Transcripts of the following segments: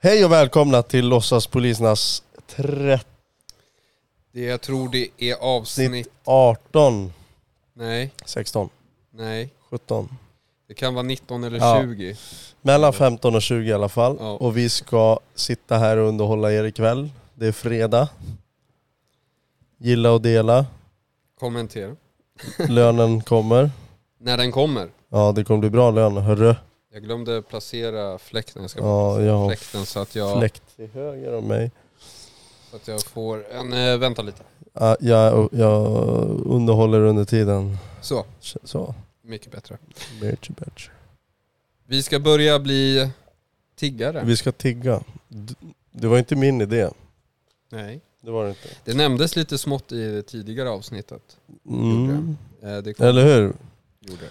Hej och välkomna till Låtsaspolisernas 30 Det, jag tror det är avsnitt... 18, Nej, 16, nej. 17. Det kan vara 19 eller Ja. 20. Mellan 15 och 20 i alla fall. Ja. Och vi ska sitta här och underhålla er ikväll. Det är fredag. Gilla och dela. Kommentera. Lönen kommer. När den kommer. Ja det kommer bli bra lön, hörru. Jag glömde placera fläkten. Jag ska Ja, placera jag har fläkten så att jag, Fläkt till höger om mig. så att jag får en... eh, vänta lite. Ja, jag, jag underhåller under tiden. Så, Så. mycket bättre. Bitch, bitch. Vi ska börja bli tiggare. Vi ska tigga. D- Det var inte min idé. Nej. Det var det inte. Det nämndes lite smått i det tidigare avsnittet. Mm. Eh, Det kom, Eller hur? gjorde. det.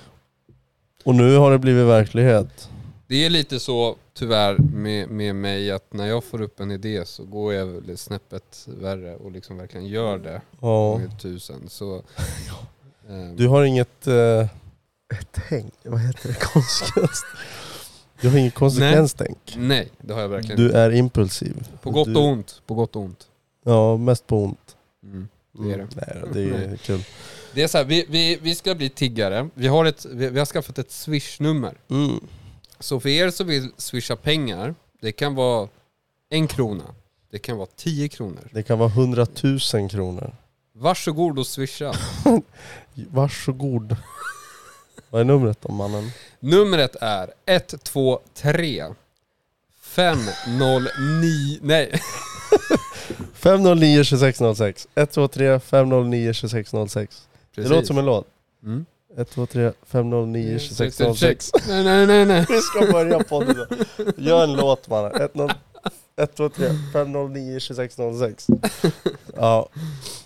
Och nu har det blivit verklighet. Det är lite så tyvärr med, med mig att när jag får upp en idé så går jag väl snäppet värre och liksom verkligen gör det. Ja. gånger tusen. Så, ehm, Du har inget... Eh, ett tänk? Vad heter det? Konsekvens? Du har inget konsekvenstänk. Nej, det har jag verkligen Du inte. är impulsiv. På gott du- och ont. På gott och ont. Ja, mest på ont. Mm. Det är det. Mm. Nej, det är kul. Det är så här, vi, vi, vi ska bli tiggare. Vi har, ett, vi, vi har skaffat ett swish-nummer. Mm. Så för er som vill swisha pengar, det kan vara en krona. Det kan vara tio kronor. Det kan vara hundratusen kronor. Varsågod och swisha. Varsågod. Vad är numret då mannen? Numret är 123 509... Nej. 509 2606. 123 509 2606. Det låter som en låt. Mm. 123 509 2606. Nej, nej, nej, nej. Vi ska börja podden då. Gör en låt mannen. 123 509 2606. Ja,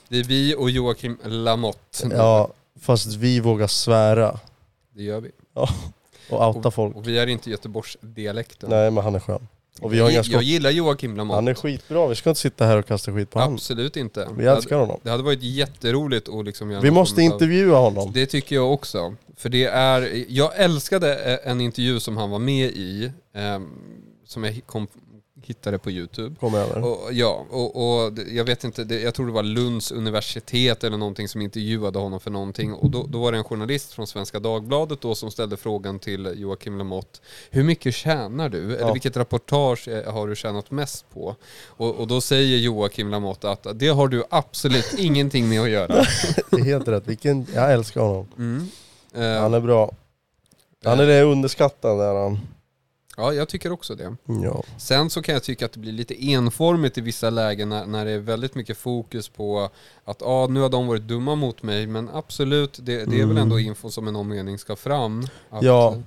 Det är vi och Joakim Lamotte. ja, fast vi vågar svära Det gör vi. och outa folk. Och vi är inte Göteborgsdialekten. Nej men han är skön. Och vi har inga jag, jag skott. gillar Joakim Lamotte. Han är skitbra, vi ska inte sitta här och kasta skit på honom. Absolut inte. Vi Det hade- älskar honom. Det hade varit jätteroligt att liksom göra Vi någon måste form av- intervjua honom. Det tycker jag också. För det är, jag älskade eh, en intervju som han var med i, ehm, som jag hi- kom, hittade på YouTube. Kom över. Och, ja, och, och det- jag vet inte, det, jag tror det var Lunds universitet eller någonting som intervjuade honom för någonting. Och då, då var det en journalist från Svenska Dagbladet då som ställde frågan till Joakim Lamotte. Hur mycket tjänar du? Eller Ja. vilket rapportage eh, har du tjänat mest på? Och, och då säger Joakim Lamotte att det har du absolut ingenting med att göra. Det är helt rätt. Vilken, jag älskar honom. Mm. Eh, Han är bra. Han är det underskattad där han. Ja, jag tycker också det. Ja. Sen så kan jag tycka att det blir lite enformigt i vissa lägen när, när det är väldigt mycket fokus på att ah, nu har de varit dumma mot mig, men absolut, det, det är väl Mm. ändå info som i någon mening ska fram. Att Ja.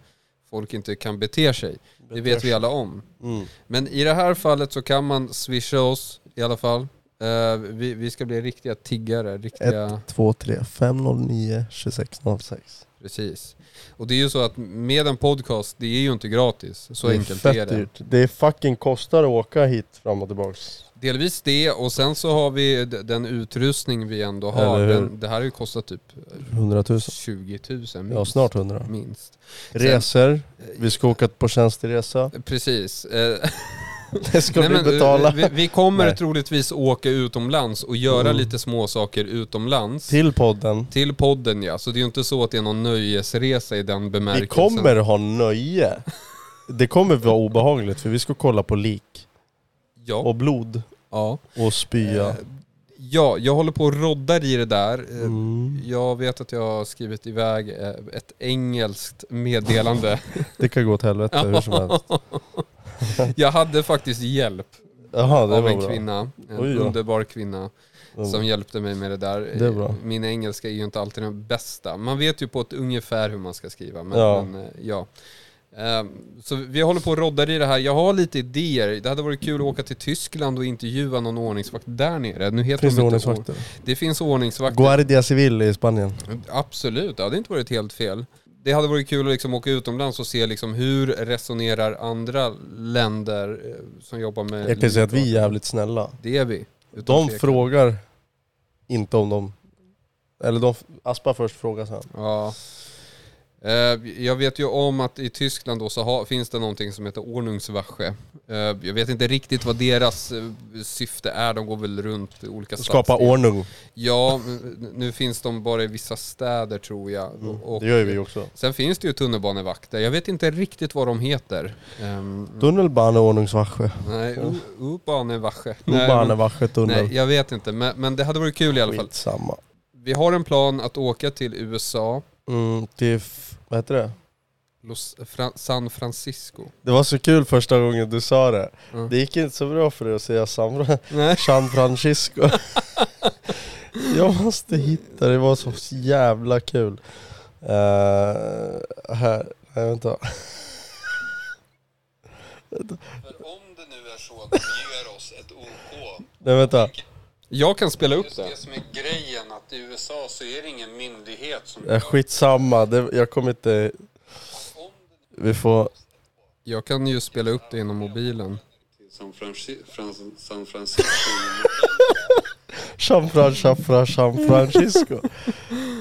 folk inte kan bete sig. Det vet vi alla om. Mm. Men i det här fallet så kan man swisha oss i alla fall. Eh, vi, vi ska bli riktiga tiggare, riktiga... 2, 3, 509 2606. Precis. Och det är ju så att med en podcast, det är ju inte gratis. Så det är enkelt fett är det. dyrt. Det är fucking kostar att åka hit fram och tillbaks. Delvis det och sen så har vi d- den utrustning vi ändå har. Eller hur? Den, det här har ju kostat typ 100 000. 20 000 minst. Ja, snart 100. Minst. Resor. Vi ska åka på tjänsteresa. Precis. Eh, Det ska nej, vi men, betala. eh, Vi, vi kommer Nej. troligtvis åka utomlands och göra Mm. lite små saker utomlands. Till, Till podden. podden ja, så det är ju inte så att det är någon nöjesresa i den Vi bemärkelsen. kommer ha nöje. Det kommer vara obehagligt för vi ska kolla på lik. Ja. Och blod. ja. Och spya. Eh, ja, jag håller på och roddar i det där. Eh, Mm. Jag vet att jag har skrivit iväg eh, ett engelskt meddelande. Det kan gå åt helvete hur som helst. jag hade faktiskt hjälp Jaha, det av var en bra. Mm. kvinna, en Oj då. underbar kvinna, som hjälpte mig med det där. Eh, Det är bra. Min engelska är ju inte alltid den bästa. Man vet ju på ett ungefär hur man ska skriva, men Ja. ja. Men, eh, ja. Ehm, Så vi håller på och roddar i det här. Jag har lite idéer. Det hade varit kul att åka till Tyskland och intervjua någon ordningsvakt där nere. Nu heter Finns de det inte ordningsvakter? or- Det finns ordningsvakter. Guardia Civil i Spanien. Absolut, det hade inte varit helt fel. Det hade varit kul att liksom åka utomlands och se liksom hur resonerar andra länder eh, som jobbar med... Jag kan ju säga att vi är jävligt snälla. Det är vi. utan De tvekan. frågar inte om de... Eller de, Aspa först frågar sen. Ja. Eh, Jag vet ju om att i Tyskland då så har, finns det någonting som heter Ordnungswache. Eh, Jag vet inte riktigt vad deras eh, syfte är, de går väl runt i olika Skapa stadsdelar. ordning. Ja, n- nu finns de bara i vissa städer tror jag. Och- Mm. Det gör ju vi också. Sen finns det ju tunnelbanevakter, jag vet inte riktigt vad de heter. Um, Tunnelbaneordningsvakter. nej, U- U-banewache. Nej, men- Urbanevakter, Mm. tunnel. Nej, jag vet inte, men, men det hade varit kul i alla fall. Skitsamma. Vi har en plan att åka till USA, Mm, till, f- vad heter det? Los, Fra, San Francisco. Det var så kul första gången du sa det. Mm. Det gick inte så bra för dig att säga San, Nej. San Francisco. jag måste hitta det, det var så jävla kul. Eh, här, nej vänta. För om det nu är så att de ger oss ett OK. Nej vänta. Jag kan spela upp Just det. det som är grejen att i USA så är det ingen myndighet som... Eh, Skitsamma, det, jag kommer inte... Vi får... Jag kan ju spela upp det inom mobilen. San, Franci- Fran- San Francisco. San Fran, San Fran, San Francisco.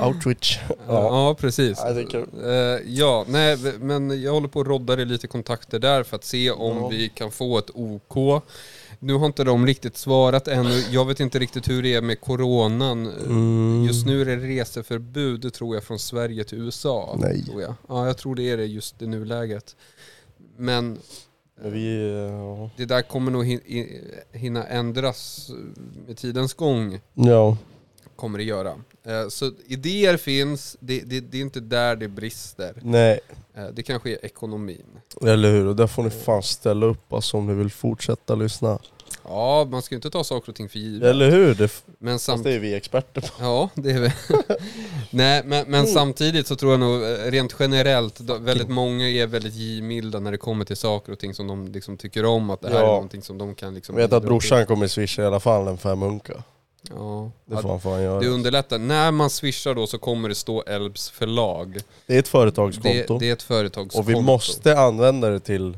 Outreach. Ja. Ja, precis. Ja, det är kul. Eh, Ja, nej, men jag håller på och roddar i lite kontakter där för att se om Ja. vi kan få ett OK. Nu har inte de riktigt svarat ännu. Jag vet inte riktigt hur det är med coronan. Mm. Just nu är det reseförbud tror jag från Sverige till USA. Nej. Tror jag. Ja, jag tror det är det just i nuläget. Men Men vi... eh, ja. det där kommer nog hin- i- hinna ändras eh, med tidens gång. Ja. Kommer det göra. Eh, Så idéer finns, det, det, det är inte där det brister. Nej. Eh, Det kanske är ekonomin. Eller hur? Och där får ni fan ställa upp alltså, om ni vill fortsätta lyssna. Ja, man ska ju inte ta saker och ting för givet. Eller hur? Det, f- Men fast samt... det är vi experter på. Ja, det är väl... Nej, men, Mm. men samtidigt så tror jag nog eh, rent generellt, då, väldigt många är väldigt givmilda när det kommer till saker och ting som de liksom tycker om, att det här är Ja. någonting som de kan liksom... Jag vet att bidra till. brorsan kommer swisha i alla fall en femhunka. Ja, Det Ja, får han fan göra. det underlättar. När man swishar då så kommer det stå Elbs förlag. Det är ett Det, företagskonto. det är ett företagskonto. och vi måste använda det till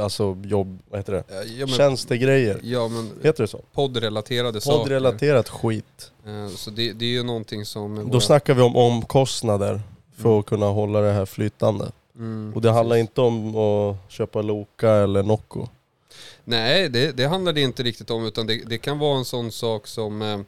alltså jobb, vad heter det? Eh, Ja men, Tjänstegrejer. ja, men Heter det så? poddrelaterade saker. Poddrelaterat skit. Eh, Så det, det är ju någonting som... Då snackar vi om omkostnader för att kunna hålla det här flytande. Mm, Och det handlar precis. inte om att köpa Loka eller Nocco. Nej, det, det handlar det inte riktigt om, utan det, det kan vara en sån sak som, eh,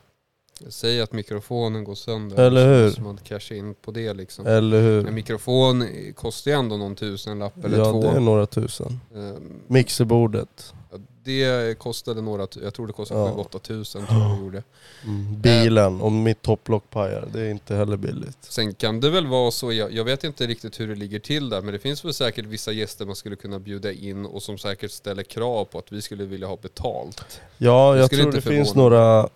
säg att mikrofonen går sönder. Eller hur? Så, så man cashar in på det liksom. Eller En hur? mikrofon kostar ju ändå någon tusenlapp eller Ja, två. det är några tusen. Ehm, Mixerbordet. ja, Det kostade några, tu- jag tror det kostade Ja. 7-8 tusen tror jag det gjorde. Mm, Bilen, om mitt topplock pajar, det är inte heller billigt. Sen kan det väl vara så, jag, jag vet inte riktigt hur det ligger till där, men det finns väl säkert vissa gäster man skulle kunna bjuda in och som säkert ställer krav på att vi skulle vilja ha betalt. Ja, Det jag skulle tror inte det finns förvåna. några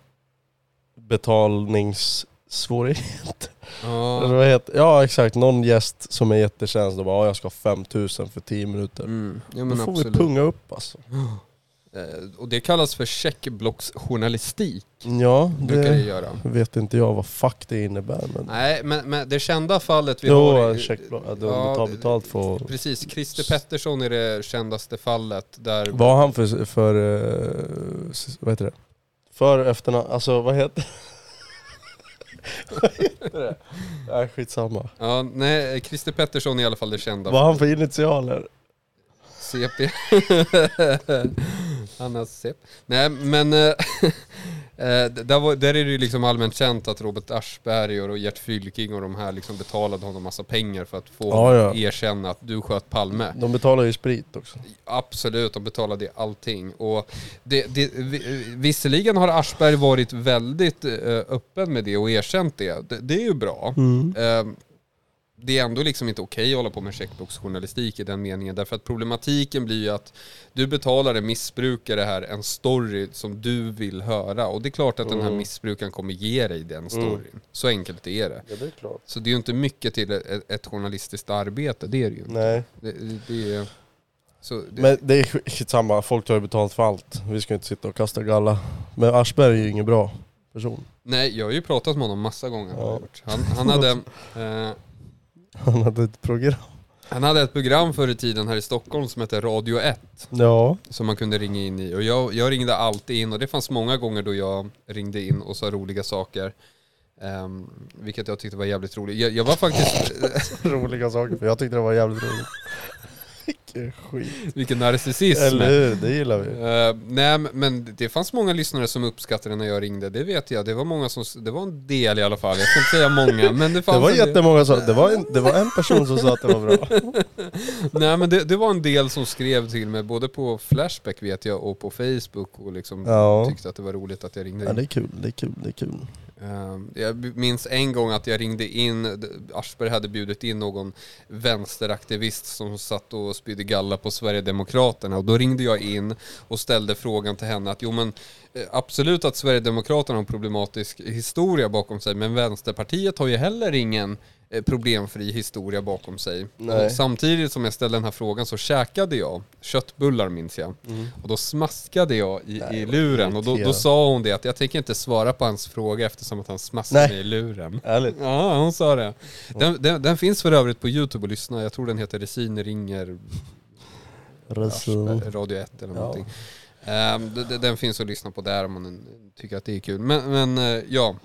betalningssvårigheter. Eller Ja. vad heter- Ja exakt, någon gäst som är jättekänslig och bara "Ja, jag ska ha 5000 för 10 minuter. Mm. Ja, Då men får absolut. vi punga upp alltså. Eh, Och det kallas för checkblocksjournalistik, Ja, brukar det det göra. vet inte jag vad fuck det innebär men... Nej, men, men det kända fallet vi har... Jo, i- checkblock, att de Ja, tar betalt för... Precis, Christer Pettersson är det kändaste fallet där... Vad har han för, för, eh, s- vad heter det? För efternamn, alltså vad heter vad heter det? Nej skitsamma. Ja, nej, Christer Pettersson är i alla fall det kända. Vad har han för initialer? CP. Han har CP. Nej, men... eh, eh, där, var, där är det ju liksom allmänt känt att Robert Aschberg och Gert Fylking och de här liksom betalade honom massa pengar för att få Ja, ja. erkänna att du sköt Palme. De betalar ju sprit också. Absolut, de betalade allting. Och det, det, vi- visserligen har Aschberg varit väldigt eh, öppen med det och erkänt det. Det, det är ju bra. Eh, Det är ändå liksom inte okej att hålla på med checkboxjournalistik i den meningen. Därför att problematiken blir ju att du betalar en missbrukare här en story som du vill höra. Och det är klart att den här missbrukaren kommer ge dig den storyn. Så enkelt är det. Ja det är klart. Så det är ju inte mycket till ett, ett journalistiskt arbete, det är det ju inte. Nej. Det, det, det är... Så det, Men det är sk- skitsamma, folk tar ju betalt för allt. Vi ska inte sitta och kasta galla. Men Aschberg är ju ingen bra person. Nej, jag har ju pratat med honom massa gånger. har jag Ja. gjort. Han, han, hade, eh, Han hade ett program. han hade ett program förr i tiden här i Stockholm som hette Radio 1, Ja. som man kunde ringa in i. Och jag, jag ringde alltid in och det fanns många gånger då jag ringde in och sa roliga saker. Ehm, vilket jag tyckte var jävligt roligt. Jag, jag var faktiskt... Roliga saker, för jag tyckte det var jävligt roligt. Vilken skit. vilken narcissism! Eller hur, det gillar vi. Eh, nej men- men det fanns många lyssnare som uppskattade när jag ringde, det vet jag. Det var många som, det var en del i alla fall. Jag ska inte säga många, men det fanns Det var en del. jättemånga som, det var, en, det var en person som sa att det var bra. Nej men det, det var en del som skrev till mig, både på Flashback vet jag och på Facebook och liksom Ja. tyckte att det var roligt att jag ringde Ja in. det är kul, det är kul, det är kul. Ehm, Jag minns en gång att jag ringde in, d- Aschberg hade bjudit in någon vänsteraktivist som satt och spydde galla på Sverigedemokraterna och då ringde jag in och ställde frågan till henne att jo men eh, absolut att Sverigedemokraterna har en problematisk historia bakom sig men Vänsterpartiet har ju heller ingen eh, problemfri historia bakom sig. Nej. Och samtidigt som jag ställde den här frågan så käkade jag köttbullar minns jag och då smaskade jag i, i luren och då, då Mm. irriterande. sa hon det att jag tänker inte svara på hans fråga eftersom att han smaskade Nej. mig i luren. Ärligt. Ja, hon sa det. Den, den, den finns för övrigt på YouTube att lyssna. Jag tror den heter Resin ringer Resul. Aschberg, eh, Radio 1 eller Ja. någonting. Ehm, d- d- den finns att lyssna på där om man tycker att det är kul. Men, men eh, ja.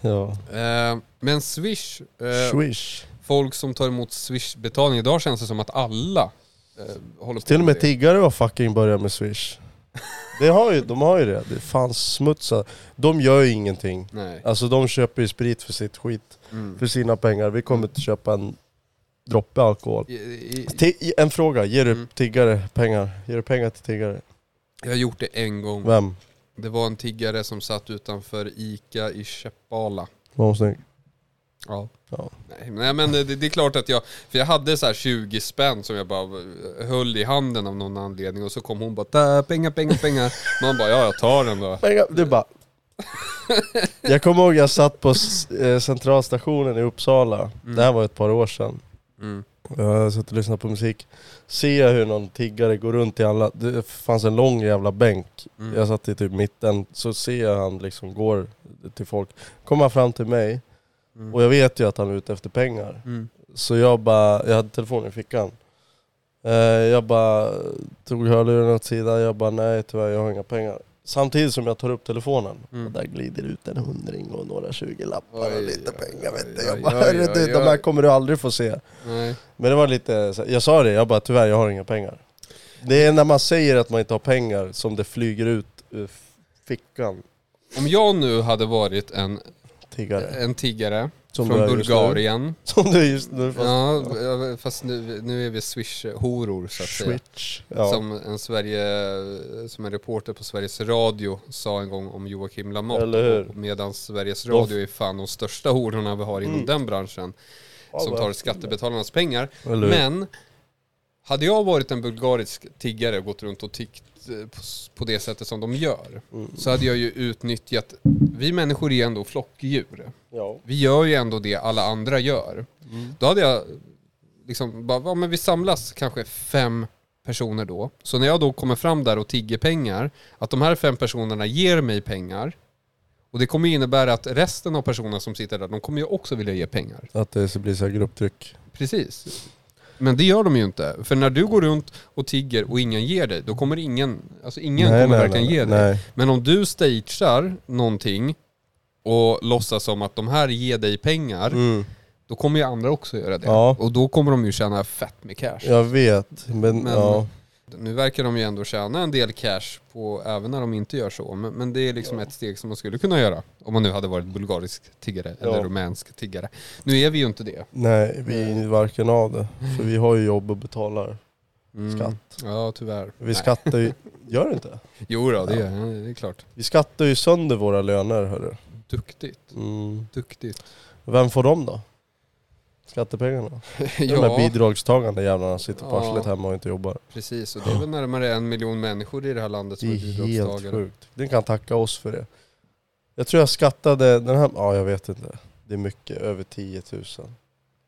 Ja. Ehm, men Swish, eh, Swish. folk som tar emot Swish-betalning. Idag känns det som att alla eh, håller på Till och det. med tiggare har fucking börjat med Swish. Det har ju, de har ju det. Det är fan smutsar. De gör ju ingenting. Nej. Alltså de köper ju sprit för sitt skit. Mm. För sina pengar. Vi kommer inte köpa en droppe alkohol. I, i, Ti- en fråga, ger Mm. du tiggare pengar? Ger du pengar till tiggare? jag har gjort det en gång. Vem? Det var en tiggare som satt utanför ICA i Käppala. Var hon snygg? Ja. Ja. Nej, nej men det, det är klart att jag, för jag hade så här 20 spänn som jag bara höll i handen av någon anledning och så kom hon bara "Där, pengar, pengar, pengar. Man bara ja jag tar den då. Pengar, du bara... Jag kommer ihåg jag satt på s- eh, centralstationen i Uppsala. Det här var ett par år sedan. Mm. Jag satt och lyssnade på musik. Ser jag hur någon tiggare går runt i alla... Det fanns en lång jävla bänk. Mm. Jag satt i typ mitten. Så ser jag han liksom går till folk. Kommer han fram till mig. Mm. Och jag vet ju att han är ute efter pengar. Mm. Så jag bara, jag hade telefonen i fickan. Eh, Jag bara tog hörluren åt sidan, jag bara nej tyvärr jag har inga pengar. Samtidigt som jag tar upp telefonen, Mm. och där glider ut en hundring och några 20 lappar och Oj, lite oj, pengar oj, vet du. Jag oj, bara oj, hörru oj, du, de här oj." kommer du aldrig få se. Nej. Men det var lite, så- jag sa det, jag bara tyvärr jag har inga pengar. Det är när man säger att man inte har pengar som det flyger ut ur fickan Om jag nu hade varit en, tiggare. en tiggare Som du Eh, från är just nu. Bulgarien. Som du just nu fast Ja, fast nu, nu är vi swish-horor så att säga. switch. Ja. Som, en Sverige, som en reporter på Sveriges Radio sa en gång om Joakim Lamotte. Eller hur? Medan Sveriges Radio är fan de största hororna vi har inom Mm. den branschen. Ja, som va? tar skattebetalarnas pengar. Eller hur? Men hade jag varit en bulgarisk tiggare och gått runt och tiggt eh, på s- på det sättet som de gör. Mm. Så hade jag ju utnyttjat, vi människor är ändå flockdjur. Ja. Vi gör ju ändå det alla andra gör. Då hade jag liksom bara, ja, men vi samlas kanske fem personer då. Så när jag då kommer fram där och tigger pengar, att de här fem personerna ger mig pengar. Och det kommer ju innebära att resten av personerna som sitter där, de kommer ju också vilja ge pengar. Att det så blir så här grupptryck. Precis. Men det gör de ju inte. För när du går runt och tigger och ingen ger dig, då kommer ingen, alltså ingen kommer verkligen ge dig. nej. Men om du stagear någonting och låtsas som att de här ger dig pengar, Mm. då kommer ju andra också göra det. Ja. Och då kommer de ju tjäna fett med cash. Jag vet, men, Men- ja. Nu verkar de ju ändå tjäna en del cash på, även när de inte gör så. Men, men det är liksom ett steg som man skulle kunna göra. Om man nu hade varit bulgarisk tiggare eller Ja. rumänsk tiggare. Nu är vi ju inte det. Nej, vi är ju varken av det. För vi har ju jobb och betalar Mm. skatt. Ja, tyvärr. Vi Nej. skattar ju... Gör det inte? Jo då, det, ja. det är klart. Vi skattar ju sönder våra löner, hörru. Duktigt. Mm. Duktigt. Vem får dem då? Skattepengarna? De där bidragstagande jävlarna sitter på Ja. arslet hemma och inte jobbar. precis. Och det är väl närmare en miljon människor i det här landet Det som är är helt bidragstagare. sjukt. Den kan tacka oss för det. Jag tror jag skattade den här... Ja, jag vet inte. Det är mycket. Över 10 000.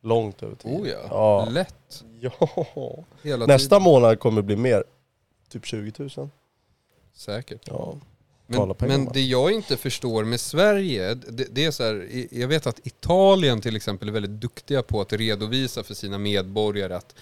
Långt över 10 000. Oh ja. ja. Lätt. Ja. Hela Nästa tiden. månad kommer det bli mer. Typ 20 000. Säkert. Ja. Men, Tala pengar, men va? det jag inte förstår med Sverige, det, det är så här, i- jag vet att Italien till exempel är väldigt duktiga på att redovisa för sina medborgare att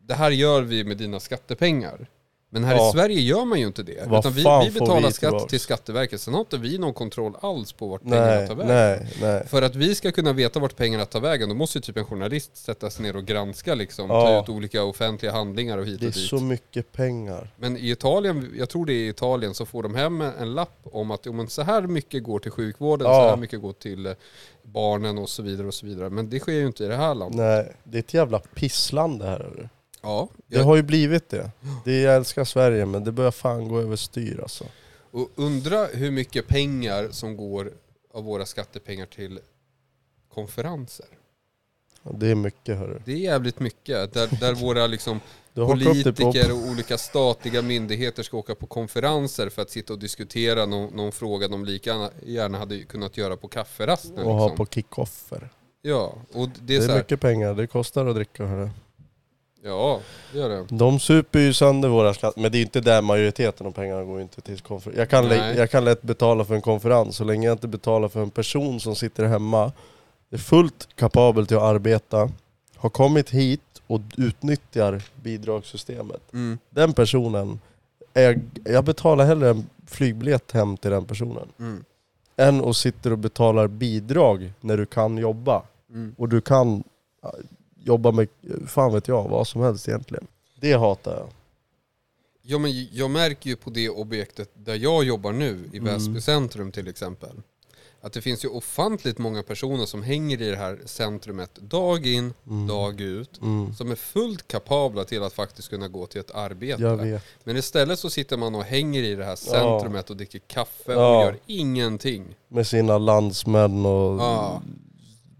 det här gör vi med dina skattepengar. Men här Ja. i Sverige gör man ju inte det. Vad utan vi, fan vi får betalar vi skatt tillbaks? till Skatteverket. Sen har inte vi någon kontroll alls på vart pengarna Nej, tar vägen. nej, nej. För att vi ska kunna veta vart pengarna tar vägen, då måste ju typ en journalist sätta sig ner och granska liksom. Ja. Ta ut olika offentliga handlingar och hit Det är och dit. så mycket pengar. Men i Italien, jag tror det är i Italien, så får de hem en lapp om att jo, men så här mycket går till sjukvården, Ja. så här mycket går till eh, barnen och så vidare och så vidare. Men det sker ju inte i det här landet. Nej, det är ett jävla pissland det här. Är det. Ja, det har ju blivit det. det. Jag älskar Sverige men det börjar fan gå överstyr alltså. och undra hur mycket pengar som går av våra skattepengar till konferenser. Det är mycket hörru. Det är jävligt mycket. Där, där våra liksom Du hakar upp dig på... politiker och olika statliga myndigheter ska åka på konferenser för att sitta och diskutera någon, någon fråga de lika gärna- gärna hade kunnat göra på kafferasten. Och ha Liksom. på kickoffer. Ja, och det Det är, är, så här, mycket pengar, det kostar att dricka hörru. Ja, det gör det. De super ju sönder våra skatter, men det är ju inte där majoriteten av pengarna går ju inte till konferens. Jag kan, lä- Nej. jag kan lätt betala för en konferens, så länge jag inte betalar för en person som sitter hemma, är fullt kapabel till att arbeta, har kommit hit och utnyttjar bidragssystemet. Mm. Den personen, är, jag betalar hellre en flygbiljett hem till den personen, Mm. än och sitter och betalar bidrag när du kan jobba. Mm. Och du kan eh, jobba med, fan vet jag, vad som helst egentligen. Det hatar jag. Ja, men jag märker ju på det objektet där jag jobbar nu, i Väsby centrum till exempel, att det finns ju ofantligt många personer som hänger i det här centrumet dag in, dag ut, Mm. som är fullt kapabla till att faktiskt kunna gå till ett arbete. Jag vet. Men istället så sitter man och hänger i det här centrumet och dricker kaffe Ja. och gör ingenting. Med sina landsmän och... Ja,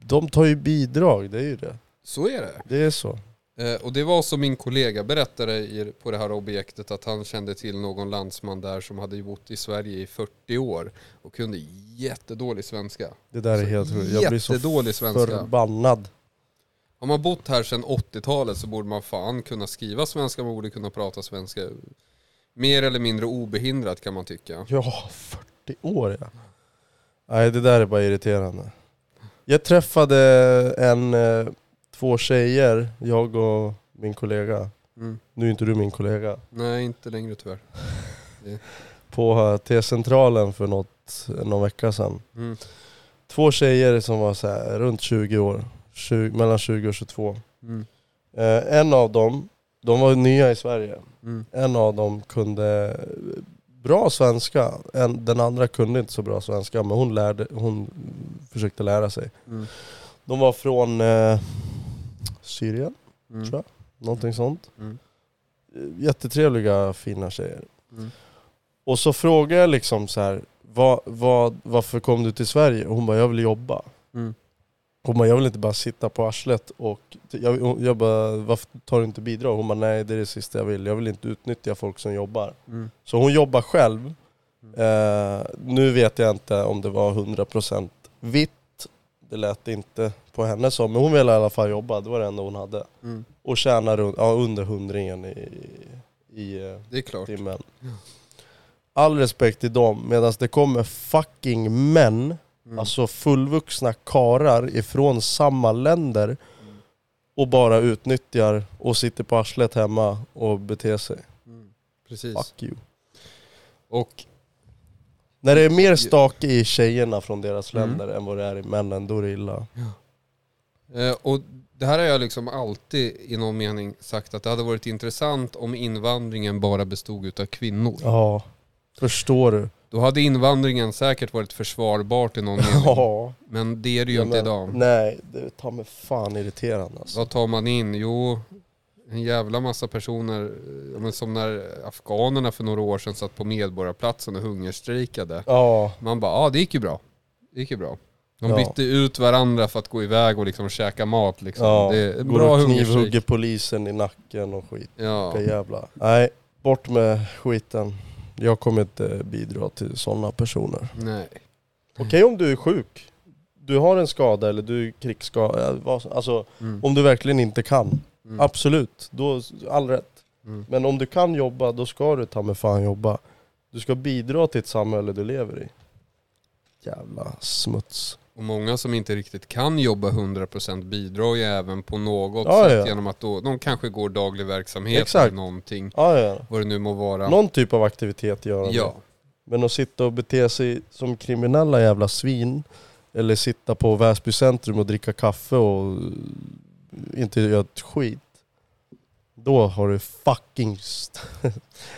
De tar ju bidrag, det är ju det. så är det. Det är så. Eh, Och det var som min kollega berättade i, på det här objektet att han kände till någon landsman där som hade ju bott i Sverige i 40 år och kunde jättedålig svenska. Det där är Så helt sjukt. Jag blir så jättedålig svenska. förbannad. Har man bott här sedan 80-talet så borde man fan kunna skriva svenska, man borde kunna prata svenska. Mer eller mindre obehindrat kan man tycka. Ja, 40 år ja. Nej, det där är bara irriterande. Jag träffade en, eh, två tjejer, jag och min kollega. Mm. Nu är inte du min kollega. Nej, inte längre tyvärr. På eh, T-centralen för något, någon vecka sedan. Mm. Två tjejer som var så här, runt 20 år. 20, mellan 20 och 22. Mm. Eh, en av dem, de var nya i Sverige. Mm. En av dem kunde bra svenska, en, den andra kunde inte så bra svenska men hon, lärde, hon försökte lära sig. Mm. De var från eh, Syrien, Mm. Tror någonting sånt. Mm. Eh, Jättetrevliga, fina tjejer. Mm. Och så frågade jag liksom så här, vad, vad, varför kom du till Sverige? Och hon bara, jag vill jobba. Mm. Hon bara, jag vill inte bara sitta på arslet och... Jag, jag bara, varför tar du inte bidrag? Hon bara, nej det är det sista jag vill. Jag vill inte utnyttja folk som jobbar. Mm. Så hon jobbar själv. Eh, nu vet jag inte om det var 100% vitt. Det lät inte på henne så, men hon ville i alla fall jobba. Det var det enda hon hade. Mm. Och tjäna runt, ja, under hundringen i, i eh, Det är klart. timmen. All respekt till dem, medan det kommer fucking män Mm. Alltså fullvuxna karar ifrån samma länder och bara utnyttjar och sitter på arslet hemma och beter sig. Mm. Precis. Fuck you. Och När det är mer stake i tjejerna från deras Mm. länder än vad det är i männen, då är det illa. Eh, Och det här har jag liksom alltid i någon mening sagt att det hade varit intressant om invandringen bara bestod av kvinnor. Ja. Förstår du? Då hade invandringen säkert varit försvarbart i någon mening. Ja. Men det är det ju inte men- eh, mm. idag. Nej, det tar mig fan irriterande alltså. Vad tar man in? Jo, en jävla massa personer. eh, Men som när afghanerna för några år sedan satt på Medborgarplatsen och hungerstrejkade. Ja. Man bara, ja ah, det gick ju bra. Det gick ju bra. De Ja. bytte ut varandra för att gå iväg och liksom käka mat. Liksom. ja. Det är Går bra och hungerstrejk. knivhugger polisen i nacken och skit. Ja. Vilka jävla... Nej, bort med skiten. Jag kommer inte bidra till sådana personer. Nej. Mm. Okej om du är sjuk, du har en skada eller du är krigsskadad, alltså Mm. om du verkligen inte kan. Mm. Absolut, då, all rätt. Mm. Men om du kan jobba, då ska du ta mig fan jobba. Du ska bidra till ett samhälle du lever i. Jävla smuts. Och många som inte riktigt kan jobba 100% bidrar ju även på något Ja, sätt ja. genom att då, de kanske går daglig verksamhet Exakt. eller någonting. Ah, Ja, ja. Vad det nu må vara. Någon typ av aktivitet gör han. ja. Men att sitta och bete sig som kriminella jävla svin, eller sitta på Väsby centrum och dricka kaffe och eh, inte göra ett skit. Då har du fucking... st-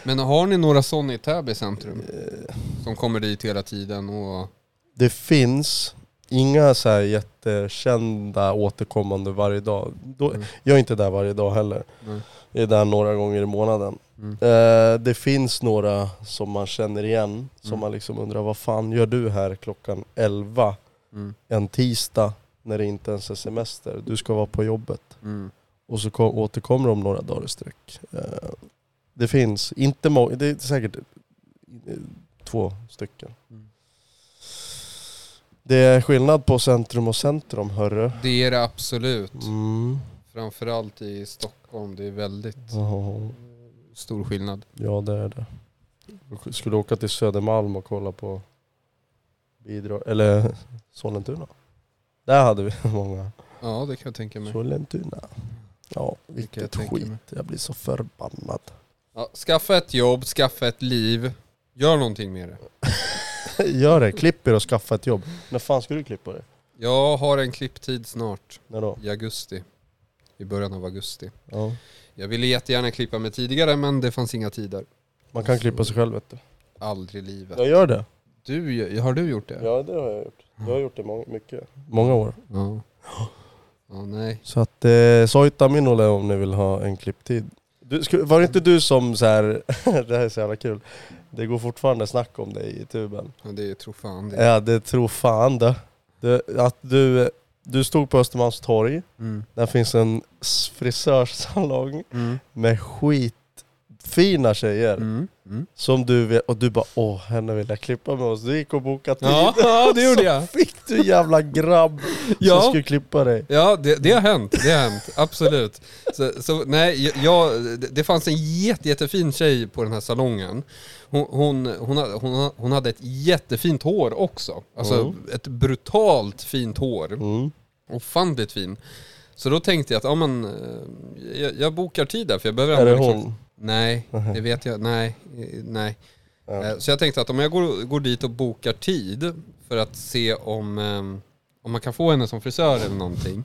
Men har ni några sådana i Täby centrum? Eh, Som kommer dit hela tiden och... Det finns inga så här jättekända återkommande varje dag. Då, Mm. Jag är inte där varje dag heller. Nej. Jag är där några gånger i månaden. Mm. Eh, det finns några som man känner igen, som Mm. man liksom undrar vad fan gör du här klockan 11 Mm. en tisdag när det inte ens är semester? Du ska vara på jobbet. Mm. Och så kom, återkommer de några dagar i sträck. Eh, det finns inte många, det är säkert eh, två stycken. Mm. Det är skillnad på centrum och centrum hörru. Det är det absolut. Mm. Framförallt i Stockholm. Det är väldigt Ja, stor skillnad. Ja det är det. Jag skulle åka till Södermalm och kolla på bidrag, eller Sollentuna. Där hade vi många. Ja, det kan jag tänka mig. Sollentuna. Ja, kan jag Mm. vilket tänka skit. mig. Jag blir så förbannad. Ja, skaffa ett jobb, skaffa ett liv. Gör någonting med det. Gör det, klipp er och skaffa ett jobb. När fan ska du klippa det? Jag har en klipptid snart. När då? I augusti. I början av augusti. Ja. Jag ville jättegärna klippa mig tidigare men det fanns inga tider. Man kan klippa sig själv vet du. Aldrig i livet. Jag gör det. Du, har du gjort det? Ja det har jag gjort. Jag har gjort det många, mycket. Många år. Ja. Ja, nej. Så att eh, sojta minole om ni vill ha en klipptid. Du, sku, var det inte du som så här, det här är så jävla kul. Det går fortfarande snack om dig i tuben. Ja, det är tro fan det. Ja det tror fan det. Du, att du, du stod på Östermalms torg, Mm. där finns en s- frisörsalong Mm. med skitfina tjejer. Mm. Mm. Som du vet, och du bara åh henne vill jag klippa med oss. Du gick och bokade tid. Ja, ja, det gjorde jag. Fick du jävla grabb Ja. som skulle klippa dig. Ja, det, det har hänt. Det har hänt, absolut. Så, så nej, jag, det- det fanns en jätte, jättefin tjej på den här salongen. Hon, hon, hon, hade- hon, ha- hon hade ett jättefint hår också. Alltså Mm. ett brutalt fint hår. Mm. Ofantligt fin. Så då tänkte jag att, ja men, eh, jag, jag bokar tid där för jag behöver Är det ändå liksom- hon? Nej, det vet jag. Nej, eh, nej. Ja. Eh, Så jag tänkte att om jag går, går dit och bokar tid för att se om, ehm, om man kan få henne som frisör eller någonting.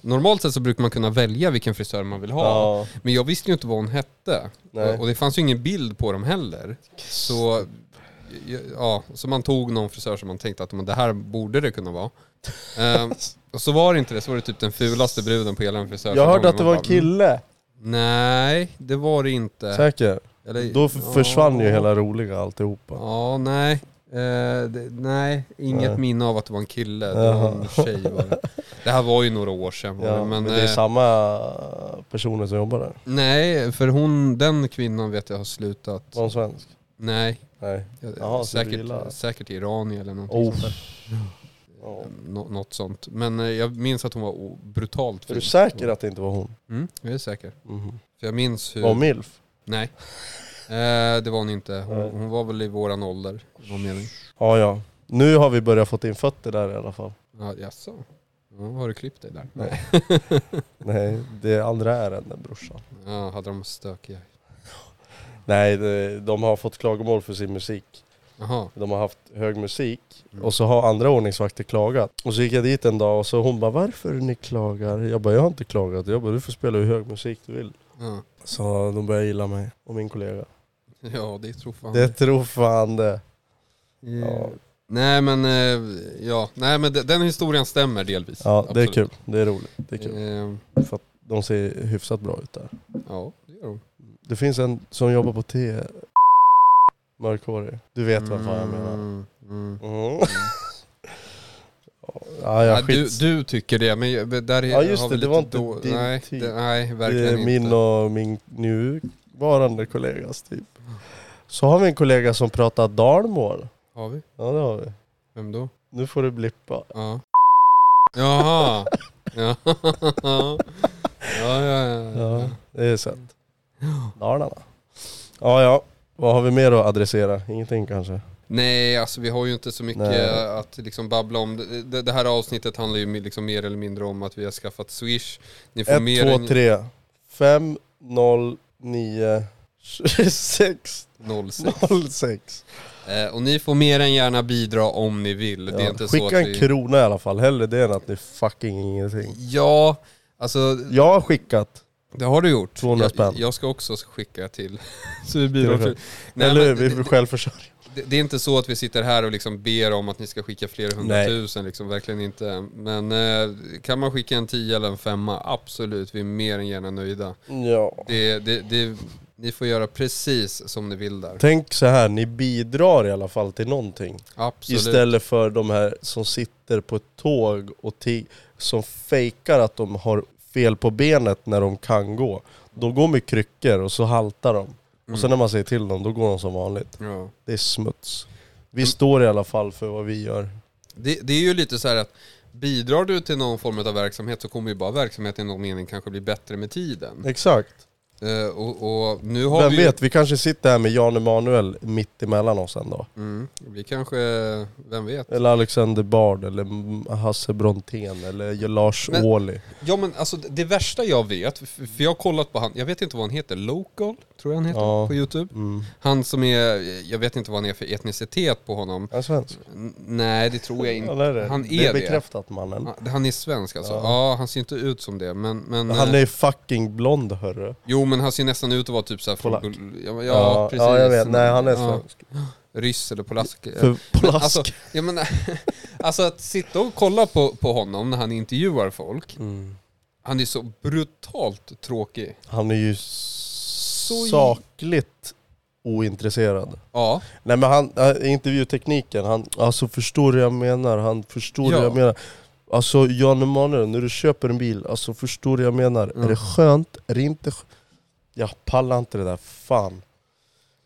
Normalt sett så brukar man kunna välja vilken frisör man vill ha. Ja. Men jag visste ju inte vad hon hette. Nej. Och- Och det fanns ju ingen bild på dem heller. Så, ja, så man tog någon frisör som man tänkte att men det här borde det kunna vara. Ehm, och så var det inte det, så var det typ den fulaste bruden på hela den Jag frisörsalongen. hörde att det mm. Eh, var Man bara, en kille. Nej, det var det inte. Säker? Eller- Då f- försvann ju hela roliga alltihopa. Ja, nej. Eh, det, nej, inget Nej. minne av att det var en kille. Det var en Jaha. tjej bara. Det här var ju några år sedan. var det, Ja, men men det är eh, samma personer som jobbar där. nej, för hon, den kvinnan vet jag har slutat. Var hon svensk? Nej, Nej. jag- Jaha, så du gillar- säkert, säkert iranier eller någonting Oh. sånt där. Ja. Nå- något sånt. Men eh, jag minns att hon var o- brutalt Är du fin. säker att det inte var hon? Mm, jag är säker. Mhm. För jag minns hur... Var hon milf? Nej. Eh, det var hon inte. Nej. Hon, hon var väl i våran ålder. Vad mening. Ja, ja. Nu har vi börjat få in fötter där i alla fall. Ja, jaså? Ja, har du klippt dig där? Nej. Nej, det andra är den där brorsan. Ja, hade de stökiga? Nej, det- de har fått klagomål för sin musik. Jaha. De har haft hög musik Mm. och så har andra ordningsvakter klagat. Och så gick jag dit en dag och så hon bara varför ni klagar? Jag bara jag har inte klagat. Jag bara du får spela hur hög musik du vill. Ja, Så de började gilla mig och min kollega. ja det tror fan. Det tror fan det. Eh, Ja, Nej men, eh, ja. Nej, men de- den historien stämmer delvis. ja det är Absolut. kul. Det är roligt. Det är kul. Eh, För att de ser hyfsat bra ut där. ja, det gör de. Det finns en som jobbar på T. Mörkhårig. Du vet vad fan jag menar. Mm, mm. Mm. ja, jag Ja, du, skits. du tycker det, men jag- men där är- Ja, just har det, vi det lite var inte då- din nej, tid. Det, nej, det verkligen är Eh, min inte. och min nuvarande kollegas typ. Så har vi en kollega som pratar dalmål. Har vi? Ja det har vi. Vem då? Nu får du blippa. Ja. Jaha. Ja. ja, ja, ja. Ja, ja. det är sött. Dalarna. Ja ja, vad har vi mer att adressera? Ingenting kanske? Nej, alltså vi har ju inte så mycket Nej. att liksom babbla om. Det- Det, det här avsnittet handlar ju liksom mer eller mindre om att vi har skaffat Swish. Ni får mer 1, 2, än 3. 5, 0, 9, 26, 06. 06. Eh, och ni får mer än gärna bidra om ni vill. Det är Ja. inte så att Skicka en vi... krona i alla fall, hellre det än att ni fucking ingenting. Ja, alltså Jag har skickat, det har du gjort. 200 spänn. Jag, jag ska också skicka till... så vi bidrar Till- till... Nej, eller hur? men Vi det- är självförsörjande. det, det är inte så att vi sitter här och liksom ber om att ni ska skicka flera hundratusen, liksom, verkligen inte. Men eh, kan man skicka en tia eller en femma, absolut, vi är mer än gärna nöjda. Ja. Det, det, det, ni får göra precis som ni vill där. Tänk så här, ni bidrar i alla fall till någonting. Absolut. Istället för de här som sitter på ett tåg och ti- som fejkar att de har fel på benet när de kan gå. De går med kryckor och så haltar de. Och sen när man säger till dem, då går de som vanligt. Mm. Ja. Det är smuts. Mm. Vi står i alla fall för vad vi gör. Det, det är ju lite så här att bidrar du till någon form av verksamhet så kommer ju bara verksamheten i någon mening kanske bli bättre med tiden. Exakt. Eh, och, och nu har Vem vi ju- vet, vi kanske sitter här med Jan Emanuel mitt emellan oss en dag. Mm, vi kanske, vem vet? Eller Alexander Bard, eller M- Hasse Brontén, eller Lars Men- Ohly. Ja men alltså det det värsta jag vet, för för jag har kollat på han, jag vet inte vad han heter, Local tror jag han heter Ja. på Youtube. Mm. Han som är, jag vet inte vad han är för etnicitet på honom. Är han svensk? N- nej det tror jag inte. Han är det. Han det är är det. bekräftat mannen. Han- Han är svensk alltså. Ja. Ja. han ser inte ut som det men... men Han eh, är fucking blond hörru. Jo men han ser nästan ut att vara typ såhär Polack. Bul- ja, men- ja, Ja, precis. ja, jag vet. Nej, han är Ja, svensk. Ryss eller polask. eh, För Men plask. Alltså, ja, men, alltså att sitta och kolla på, på honom när han intervjuar folk, Mm. han är så brutalt tråkig. Han är ju i- sakligt ointresserad. Ja, Nej men han, äh, intervjutekniken, han alltså förstår du vad jag menar, han förstår Ja. ja. jag menar. Alltså Jan Emanuel, när du köper en bil, alltså förstår du vad jag menar? Mm. Är det skönt? Är det inte skönt? Jag pallar inte det där, fan.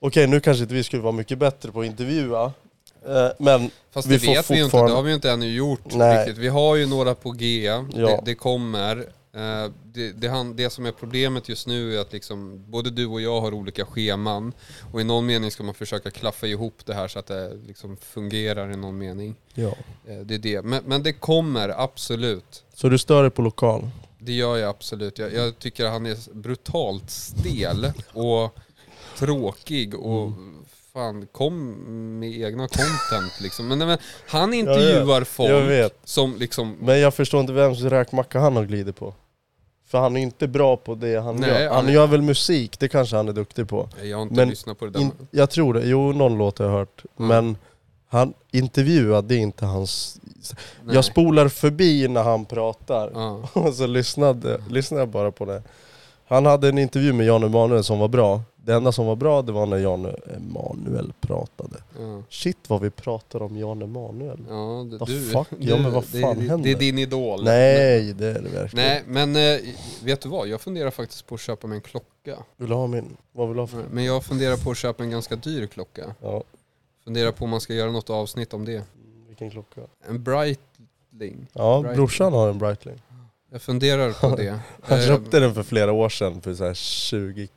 Okej nu kanske inte vi skulle vara mycket bättre på att intervjua, eh, men fast Vi det får vet vi ju inte. Det fortfarande- har vi ju inte ännu gjort Nej. riktigt. Vi har ju några på G, det, Ja. det kommer. Eh, Det, det, han, det som är problemet just nu är att liksom, både du och jag har olika scheman och i någon mening ska man försöka klaffa ihop det här så att det liksom fungerar i någon mening. ja. Eh, Det är det. Men, men det kommer, absolut. Så du stör dig på lokal? Det gör jag absolut. Jag, jag tycker han är brutalt stel och tråkig och Mm. fan, kom med egna content liksom. Men, nej, men han intervjuar folk Jag vet. som liksom, Men jag förstår inte vems räkmacka han har glidit på. För han är inte bra på det han Nej, gör. han Han är- gör väl musik, det kanske han är duktig på. jag har inte Men lyssnat på det där. In, jag tror det, jo någon låt har jag hört. Mm. Men han intervjuade det är inte hans... Nej. Jag spolar förbi när han pratar. ja. Och så lyssnade, lyssnade jag bara på det. Han hade en intervju med Jan Emanuel som var bra. Det enda som var bra det var när Jan Emanuel pratade. ja. Shit vad vi pratar om Jan Emanuel. Ja, d- Vad du, fuck? Ja, men vad det- fan det, Det händer? är din idol. Nej det är det verkligen. Nej, men eh, vet du vad? Jag funderar faktiskt på att köpa mig en klocka. Vill du ha min? Vad vill du ha för? Men jag funderar på att köpa en ganska dyr klocka. Ja, Funderar på om man ska göra något avsnitt om det. vilken klocka? En Breitling. Ja, Breitling. brorsan har en Breitling. Jag funderar på det. Han Eh, köpte den för flera år sedan för så här 20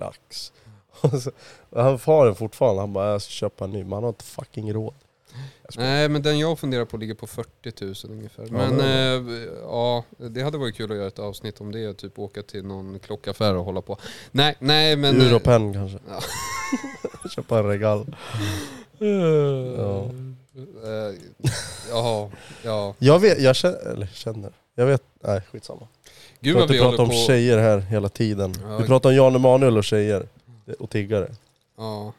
lax. Och så- Han har den fortfarande, han bara jag ska köpa en ny, men han har inte fucking råd. Nej, men den jag funderar på ligger på 40 000 ungefär. Ja, men det eh, ja, det hade varit kul att göra ett avsnitt om det. Typ åka till någon klockaffär och hålla på. Nej, nej men... eh, Europen kanske. Ja. köpa en regal. Ja. Eh, ja, ja. Jag vet, jag känner, eller känner, jag vet, nej skitsamma. Gud För att vad vi du pratar håller om på... tjejer här hela tiden. Ja. Vi pratar om Jan Emanuel och tjejer. Och tiggare. Ja.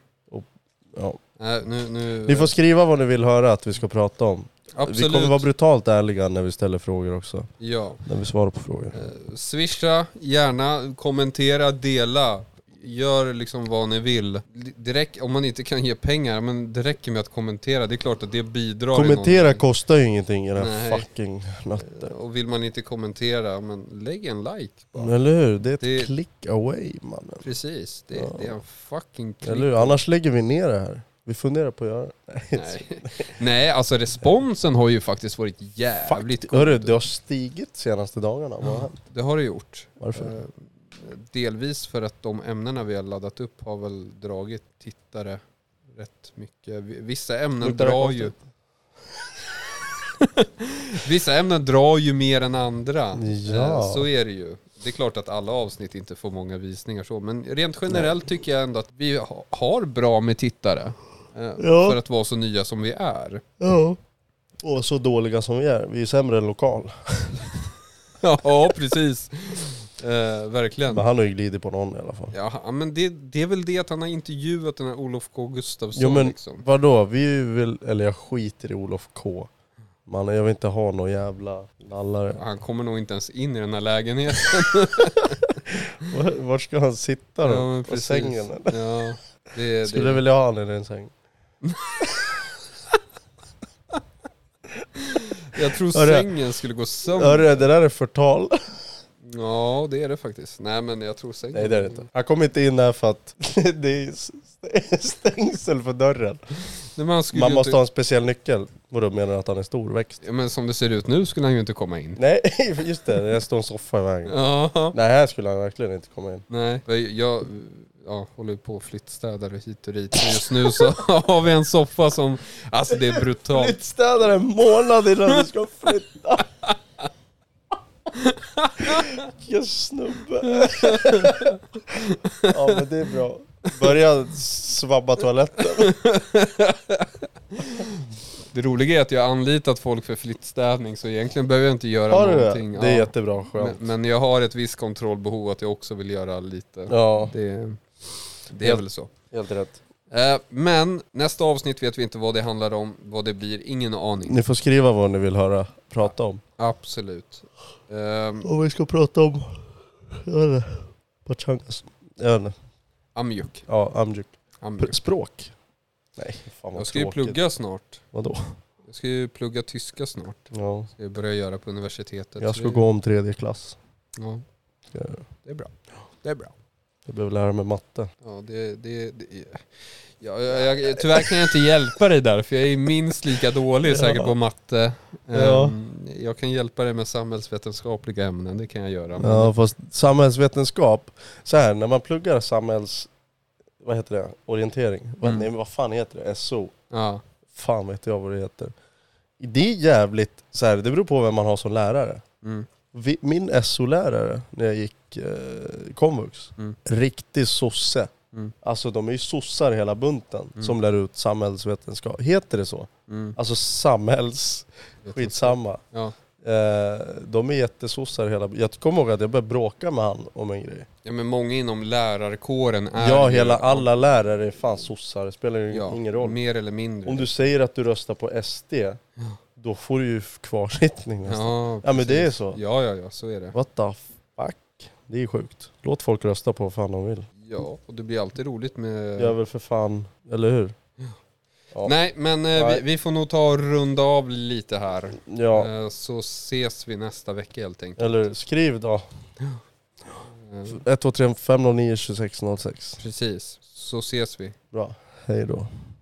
Ja. Nej, nu, nu, Ni får skriva vad ni vill höra att vi ska prata om. Absolut. Vi kommer vara brutalt ärliga när vi ställer frågor också. Ja. När vi svarar på frågor. Eh, Swisha, gärna, kommentera, dela. Gör liksom vad ni vill. Direkt, om man inte kan ge pengar, men det räcker med att kommentera. Det är klart att det bidrar. i Kommentera någon kostar ju ingenting i den här Nej. fucking mening. natten. Och vill man inte kommentera, men lägg en like bara. Eller hur? Det är ett Det- click away mannen. Precis, det, Ja. det är en fucking klick. Eller hur? Annars lägger vi ner det här. Vi funderar på att göra det. Nej. Nej. Nej, alltså responsen har ju faktiskt varit jävligt Fakt. Hörru, det har stigit senaste dagarna. Vad har hänt? Det har det gjort. Varför? Eh, Delvis för att de ämnena vi har laddat upp har väl dragit tittare rätt mycket. V- Vissa ämnen Luktar det drar ju... konstigt? Vissa ämnen drar ju mer än andra. Ja. Eh, Så är det ju. Det är klart att alla avsnitt inte får många visningar så, men rent generellt tycker jag ändå att vi ha- har bra med tittare. eh, Ja. För att vara så nya som vi är. Ja. Och så dåliga som vi är. Vi är sämre än lokal. Ja, precis. Eh, verkligen. Men han har ju glidit på någon i alla fall. Ja, han- men det, det är väl det att han har intervjuat den här Olof K Gustafsson Jo men liksom. vadå, vi är ju väl, eller jag skiter i Olof K. Mannen jag vill inte ha någon jävla nallare. Han kommer nog inte ens in i den här lägenheten. Var, var ska han sitta då? Ja, men På precis. sängen eller? Ja, det, Skulle det. vilja ha honom i en säng. Jag tror Hörru. sängen skulle gå sönder. Hörru, det där är förtal. Ja, det är det faktiskt. Nej men jag tror sängen. Nej det är det inte. Han kom inte in där för att det är st- stängsel för dörren. Nej, men han skulle Man ju måste inte... ha en speciell nyckel. Vadå menar du att han är storväxt? Ja, men som det ser ut nu skulle han ju inte komma in. Nej just det, det står en soffa i vägen. Ja. Nej här skulle han verkligen inte komma in. Nej, för jag ja, håller ju på och flyttstädar hit och dit. Men Just nu så har vi en soffa som, alltså det är brutalt. Flyttstädare en månad innan du ska flytta. Vilken snubbe. Ja men det är bra. Börja svabba toaletten. Det roliga är att jag har anlitat folk för flyttstädning så egentligen behöver jag inte göra Har du det? någonting. Det är Ja. jättebra, men, skönt. men jag har ett visst kontrollbehov att jag också vill göra lite. Ja, Det, det är väl så. helt rätt. Eh, Men nästa avsnitt vet vi inte vad det handlar om, vad det blir, ingen aning. Ni får skriva vad ni vill höra prata om. Absolut. Ehm, Och vi ska prata om... Jag vet inte. Pachangas. Jag vet inte. Amjuk. Ja, amjuk. Pr- Amjuk. Språk? Nej, fan vad Jag ska ju tråkigt. plugga snart. Vadå? Jag ska ju plugga tyska snart. Ja, Ska jag börja göra på universitetet. jag så ska det- gå om tredje klass. Ja, Ska jag göra. det är bra. Det är bra. Jag behöver lära mig matte. Ja, det, det, det ja, jag, jag, tyvärr kan jag inte hjälpa dig där, för jag är minst lika dålig säkert på matte. Ehm, Ja. Jag kan hjälpa dig med samhällsvetenskapliga ämnen, det kan jag göra. Men, Ja, fast samhällsvetenskap. Så här, när man pluggar samhälls... Vad heter det? Orientering? Vad- Mm. Nej, men vad fan heter det? SO? ja. Fan vet jag vad det heter. Det är jävligt... Så här, det beror på vem man har som lärare. Mm. Vi, min SO-lärare när jag gick eh, komvux, Mm. riktig sosse. Mm. Alltså de är ju sossar hela bunten Mm. som lär ut samhällsvetenskap. Heter det så? Mm. Alltså samhälls... Skitsamma. Ja. Eh, de är jättesossar hela... Jag kommer ihåg att jag började bråka med han om en grej. Ja men många inom lärarkåren är Ja, ju- hela, alla lärare är fan sossar. Det spelar ju ja, ingen roll. Mer eller mindre. Om du säger att du röstar på SD, då får du ju kvarsittning nästan. ja, Ja, men precis. det är så. Ja, ja, ja, så är det. What the fuck? Det är sjukt. Låt folk rösta på vad fan de vill. Ja, och det blir alltid roligt med... Gör väl för fan, eller hur? Ja. Nej, men eh, Nej. Vi, vi får nog ta och runda av lite här. Ja, Eh, Så ses vi nästa vecka helt enkelt. eller skriv då. Eh, 1, 2, 3, 5, 0, 9, 26, 06. Precis, så ses vi. Bra, hej då.